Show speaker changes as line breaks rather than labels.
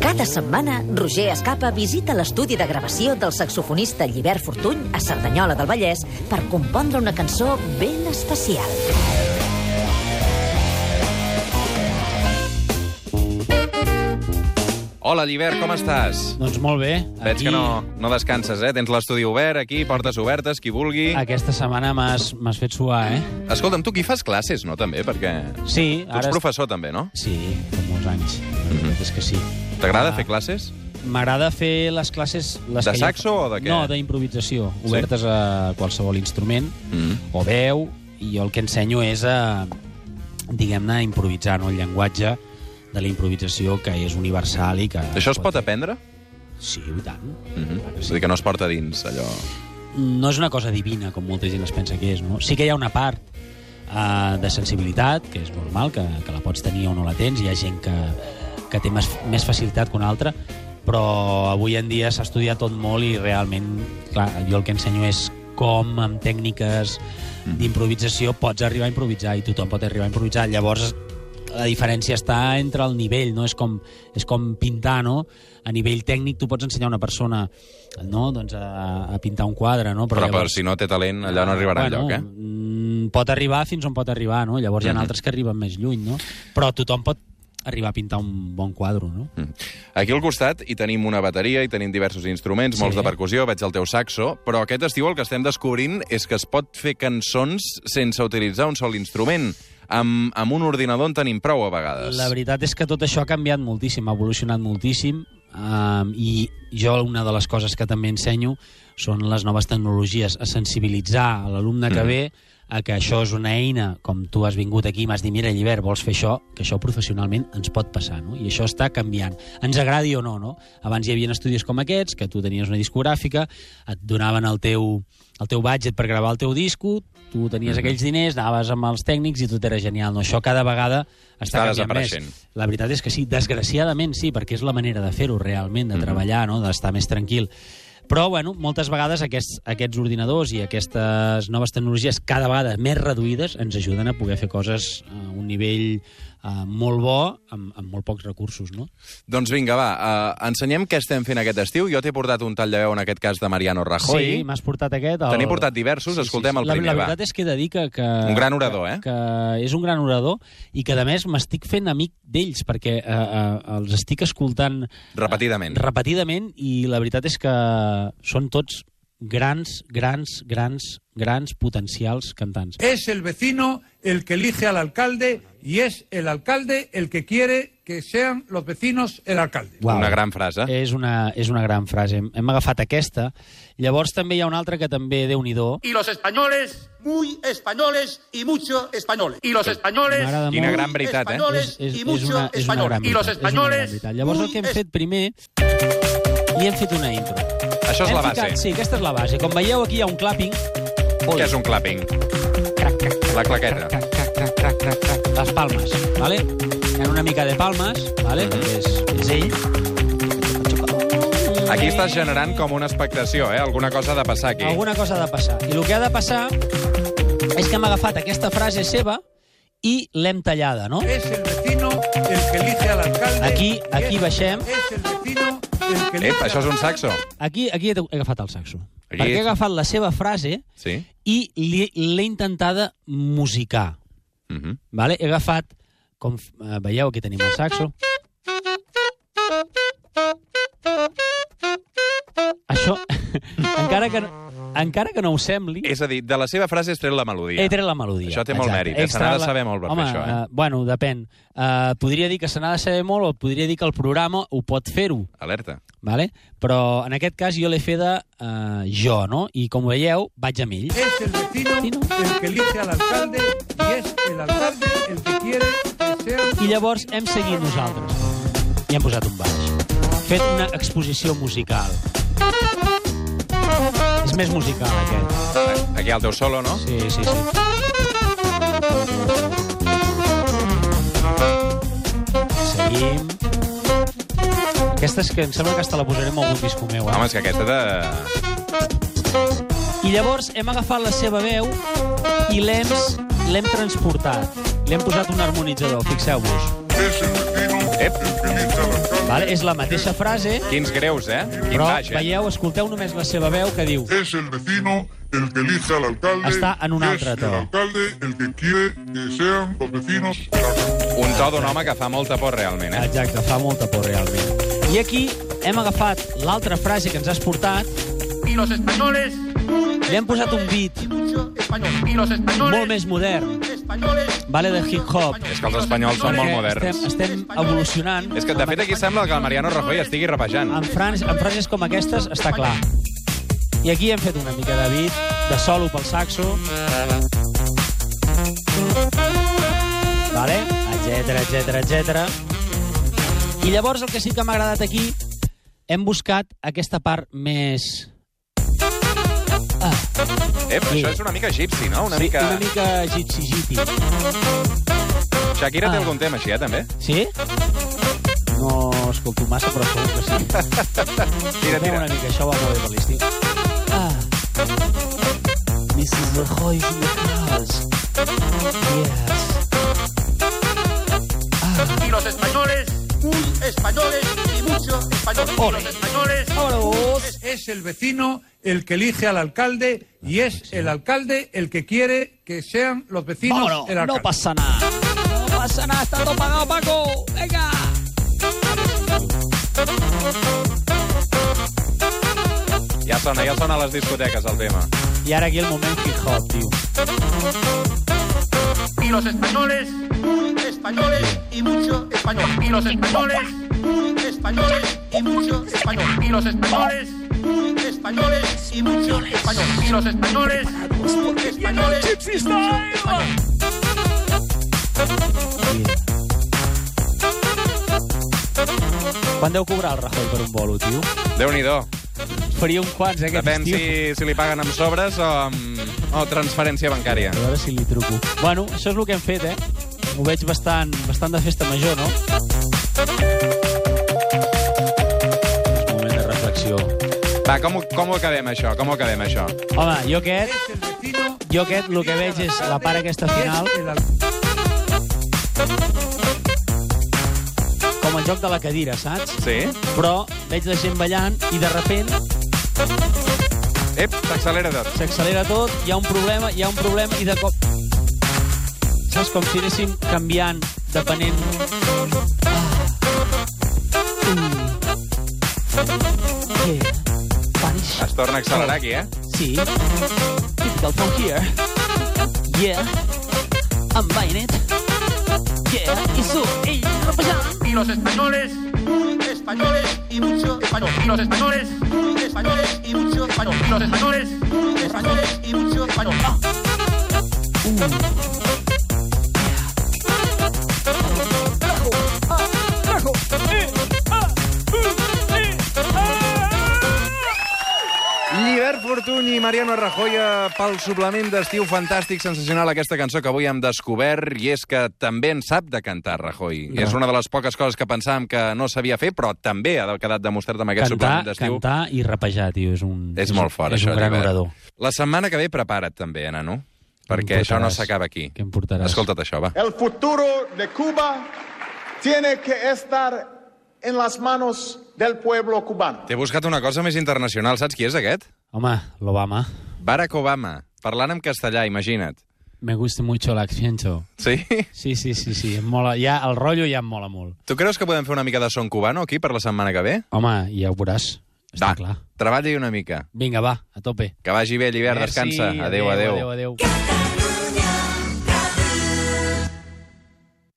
Cada setmana, Roger Escapa visita l'estudi de gravació del saxofonista Llibert Fortuny a Cerdanyola del Vallès per compondre una cançó ben especial.
Hola, Llibert, com estàs?
Doncs molt bé.
Veig que no, no descanses, eh? Tens l'estudi obert aquí, portes obertes, qui vulgui...
Aquesta setmana m'has m'has fet suar, eh?
Escolta'm, tu aquí fas classes, no, també? Perquè tu
Sí,
ets
ara...
professor, també, no?
Sí, fa molts anys.
Mhm.
La veritat és que sí.
T'agrada
Ah.
fer classes?
M'agrada fer les classes... Les
De
que ja-
saxo o de què?
No, d'improvisació,
Sí?
obertes a qualsevol instrument,
Mm.
o veu, i jo el que ensenyo és a, diguem-ne, a improvisar, no? El llenguatge de la improvisació que és universal i que...
Això es pot aprendre?
Sí, i tant.
Mm
Clar
-hmm.
que
És
sí.
a dir, que no es porta dins, allò...
no és una cosa divina, com molta gent es pensa que és. No? Sí que hi ha una part uh, de sensibilitat, que és normal, que, que la pots tenir o no la tens, hi ha gent que, que té més, més facilitat que una altra, però avui en dia s'ha estudiat tot molt i realment, clar, jo el que ensenyo és com amb tècniques d'improvisació pots arribar a improvisar i tothom pot arribar a improvisar. Llavors, la diferència està entre el nivell, no? És com, és com pintar, no? A nivell tècnic tu pots ensenyar a una persona no? doncs a, a pintar un quadre, no?
Però, per si no té talent, allò no arribarà bueno, enlloc, eh?
eh? Pot arribar fins on pot arribar, no? Llavors hi ha
Mhm.
altres que arriben més lluny, no? Però tothom pot arribar a pintar un bon quadre, no?
Mm. Aquí al costat hi tenim una bateria, hi tenim diversos instruments,
Sí.
molts de percussió, veig el teu saxo, però aquest estiu el que estem descobrint és que es pot fer cançons sense utilitzar un sol instrument. Amb, amb un ordinador en tenim prou a vegades.
La veritat és que tot això ha canviat moltíssim, ha evolucionat moltíssim um, i jo una de les coses que també ensenyo són les noves tecnologies, a sensibilitzar a l'alumne que
Mhm.
ve a que això és una eina, com tu has vingut aquí i m'has dit, mira, Llibert, vols fer això? Que això professionalment ens pot passar, no? I això està canviant. Ens agradi o no, no? Abans hi havia estudis com aquests, que tu tenies una discogràfica, et donaven el teu, el teu budget per gravar el teu disco, tu tenies
Mhm.
aquells diners, anaves amb els tècnics i tot era genial, no? Això cada vegada està,
Està
canviant
desapareixent.
Més. La veritat és que sí, desgraciadament sí, perquè és la manera de fer-ho realment, de
Mhm.
treballar, no? d'estar més tranquil. Però, bueno, moltes vegades aquests, aquests ordinadors i aquestes noves tecnologies cada vegada més reduïdes ens ajuden a poder fer coses a un nivell eh, molt bo amb, amb molt pocs recursos, no?
Doncs vinga, va, uh, ensenyem què estem fent aquest estiu. Jo t'he portat un tall de veu, en aquest cas, de Mariano Rajoy.
Sí, m'has portat aquest. El...
Te n'he portat diversos, escoltem el primer,
la,
va.
la veritat és que he de dir que, que...
Un gran orador, eh?
Que és un gran orador i que, a més, m'estic fent amic d'ells perquè eh, eh, els estic escoltant eh,
Repetidament.
repetidament i la veritat és que són tots grans, grans, grans, grans potencials cantants.
Es el vecino el que elige al alcalde y es el alcalde el que quiere que sean los vecinos el alcalde.
Uau. Eh,
Una gran frase.
És una, és una gran frase. Hem, hem agafat aquesta. Llavors també hi ha una altra que també, déu nhi
y los españoles, muy españoles y mucho españoles. Y los españoles,
M'agrada molt.
Quina
muy
gran veritat, eh?
españoles y mucho
és una gran
españoles. Y
veritat,
los
és una gran
españoles, mm,
veritat. Llavors el
muy
que hem fet primer... I hem fet una intro.
Això és
Hem
la base.
Ficat, sí, aquesta és la base. Com veieu, aquí hi ha un clapping.
Què és un clapping? La claqueta.
Les palmes, vale? Hi ha una mica de palmes, vale?
Mhm.
Que és, és ell.
Aquí estàs generant com una expectació, eh? Alguna cosa ha de passar aquí.
Alguna cosa ha de passar. I el que ha de passar és que hem agafat aquesta frase seva i l'hem tallada, no?
Eh.
Es el vecino el que elige al alcalde.
Aquí-
y es-
aquí baixem.
Es el vecino el que elige.
Ep,
al
això és un saxo.
Aquí, aquí he he agafat el saxo.
Aquí.
Perquè he agafat la seva frase
Sí.
i li- l'he intentada musicar.
Mm -hmm.
Vale? He agafat, com f- eh, veieu, aquí tenim el saxo. Això, encara que, no- encara que no ho sembli,
És a dir, de la seva frase has tret la melodia.
he tret la melodia.
Això té molt mèrit, eh? Se n'ha de saber molt per fer
Home,
això, eh?
eh, bueno, depèn. Uh, podria dir que se n'ha de saber molt o podria dir que el programa ho pot fer-ho,
Alerta.
vale? però en aquest cas jo l'he fet de uh, jo, no? I com veieu, vaig amb ell.
Es el vecino
Vecino.
el que elige al alcalde y es el alcalde el que quiere que sean.
i llavors hem seguit nosaltres. I hem posat un baix. Fet una exposició musical. És més musical, aquest.
Aquí el teu solo, no?
Sí, sí, sí. Seguim. Aquesta és que em sembla que hasta la posarem a algun disco meu, eh?
Home, és que aquesta de...
I llavors hem agafat la seva veu i l'hem l'hem transportat. L'hem posat un harmonitzador, fixeu-vos.
Es el vecino
Vale? És la mateixa frase,
Quins greus, eh? Quin
però
baix, eh?
veieu, escolteu només la seva veu que diu
Es el vecino el que elige al alcalde.
Está en un
y es
altre
el
to.
alcalde el que quiere que sean los vecinos. el alcalde.
Un to d'un home que fa molta por, realment, eh?
Exacte, fa molta por, realment. I aquí hem agafat l'altra frase que ens has portat,
Y los españoles. muy
Le han puesto un
españoles
beat.
Y mucho español. Y los españoles.
molt més modern.
muy españoles,
Vale, de
mucho
hip hop.
español.
És que els espanyols són molt
Perquè
moderns.
Estem, estem evolucionant.
És que, de fet, aquí sembla que el Mariano Rajoy estigui repejant.
En, frans, en frases com aquestes està clar. I aquí hem fet una mica de beat, de solo pel saxo. Vale? Etcètera, etcètera, etcètera. I llavors el que sí que m'ha agradat aquí, hem buscat aquesta part més...
Ep, Eh, això és una mica gypsy, no? Una
sí,
mica...
Una mica gipsigiti.
Shakira té
Ah.
algun tema així, eh, també?
Sí? No escolto massa, però segur que sí.
Tira,
Fem
tira.
una mica, això va molt bé per l'estiu. Ah. Mrs. Rajoy in the house. Yes.
Y los españoles. Muy españoles y mucho español. Y los españoles.
Vámonos.
Es el vecino el que elige al alcalde y es el alcalde el que quiere que sean los vecinos
Vámonos.
el alcalde.
No pasa nada. No pasa nada. Está todo pagado, Paco. Venga.
Ja sona, ja sona a les discoteques, el tema.
I ara aquí el moment hip-hop, tio.
Y los españoles. Muy españoles y mucho español. Y los españoles. Muy españoles y mucho español. Y los españoles. Muy españoles y mucho español. Y los españoles. Muy españoles y mucho español.
Quan deu cobrar el Rajoy per un bolo, tio?
Déu-n'hi-do.
Faria un quants, eh, aquest
Depèn
estiu.
si, si li paguen amb sobres o amb o transferència bancària.
A veure si li truco. Bueno, això és el que hem fet, eh? Ho veig bastant, bastant de festa major, no? És moment de reflexió.
Va, com, ho- com ho acabem, això? Com ho acabem, això?
Home, jo aquest,
Es el vecino
jo aquest el que veig és la part aquesta final,
el al-
com el joc de la cadira, saps?
Sí?
Però veig la gent ballant i de repent
Ep, s'accelera tot.
s'accelera tot, hi ha un problema, hi ha un problema i de cop... Saps? Com si anéssim canviant, depenent... Ah. Mm. Yeah. Spanish.
Es torna a accelerar aquí, eh?
Sí. Typical from here. Yeah. I'm buying it. Yeah. I sou ell rapejant.
Y los españoles. Muy españoles y mucho español. Y los españoles. Muy españoles y mucho español. Y los españoles. Muy españoles y mucho español. Ah.
Llibert Fortuny i Mariano Rajoy eh, pel suplement d'estiu fantàstic, sensacional, aquesta cançó que avui hem descobert, i és que també en sap de cantar, Rajoy. No. És una de les poques coses que pensàvem que no sabia fer, però també ha quedat demostrat amb aquest suplement
Cantar,
d'estiu.
cantar i rapejar, tio. És, un,
És molt fort,
és
això,
un gran
Llibert.
orador.
La setmana que ve prepara't també, eh, nano? Perquè
Em
això no
portaràs.
s'acaba aquí.
Què em portaràs?
Escolta't això, va.
El futuro de Cuba tiene que estar en las manos del pueblo cubano.
T'he buscat una cosa més internacional. Saps qui és aquest?
Home, l'Obama.
Barack Obama, parlant en castellà, imagina't.
Me gusta mucho l'accento.
Sí?
Sí, sí, sí, sí. Em mola, ja, el rotllo ja em mola molt.
Tu creus que podem fer una mica de son cubano aquí per la setmana que ve?
Home, ja ho veuràs. Està clar.
Treballa-hi una mica.
Vinga, va, a tope.
Que vagi bé, l'hivern, descansa. Eh, Adéu, adéu.
adéu, adéu.
Cada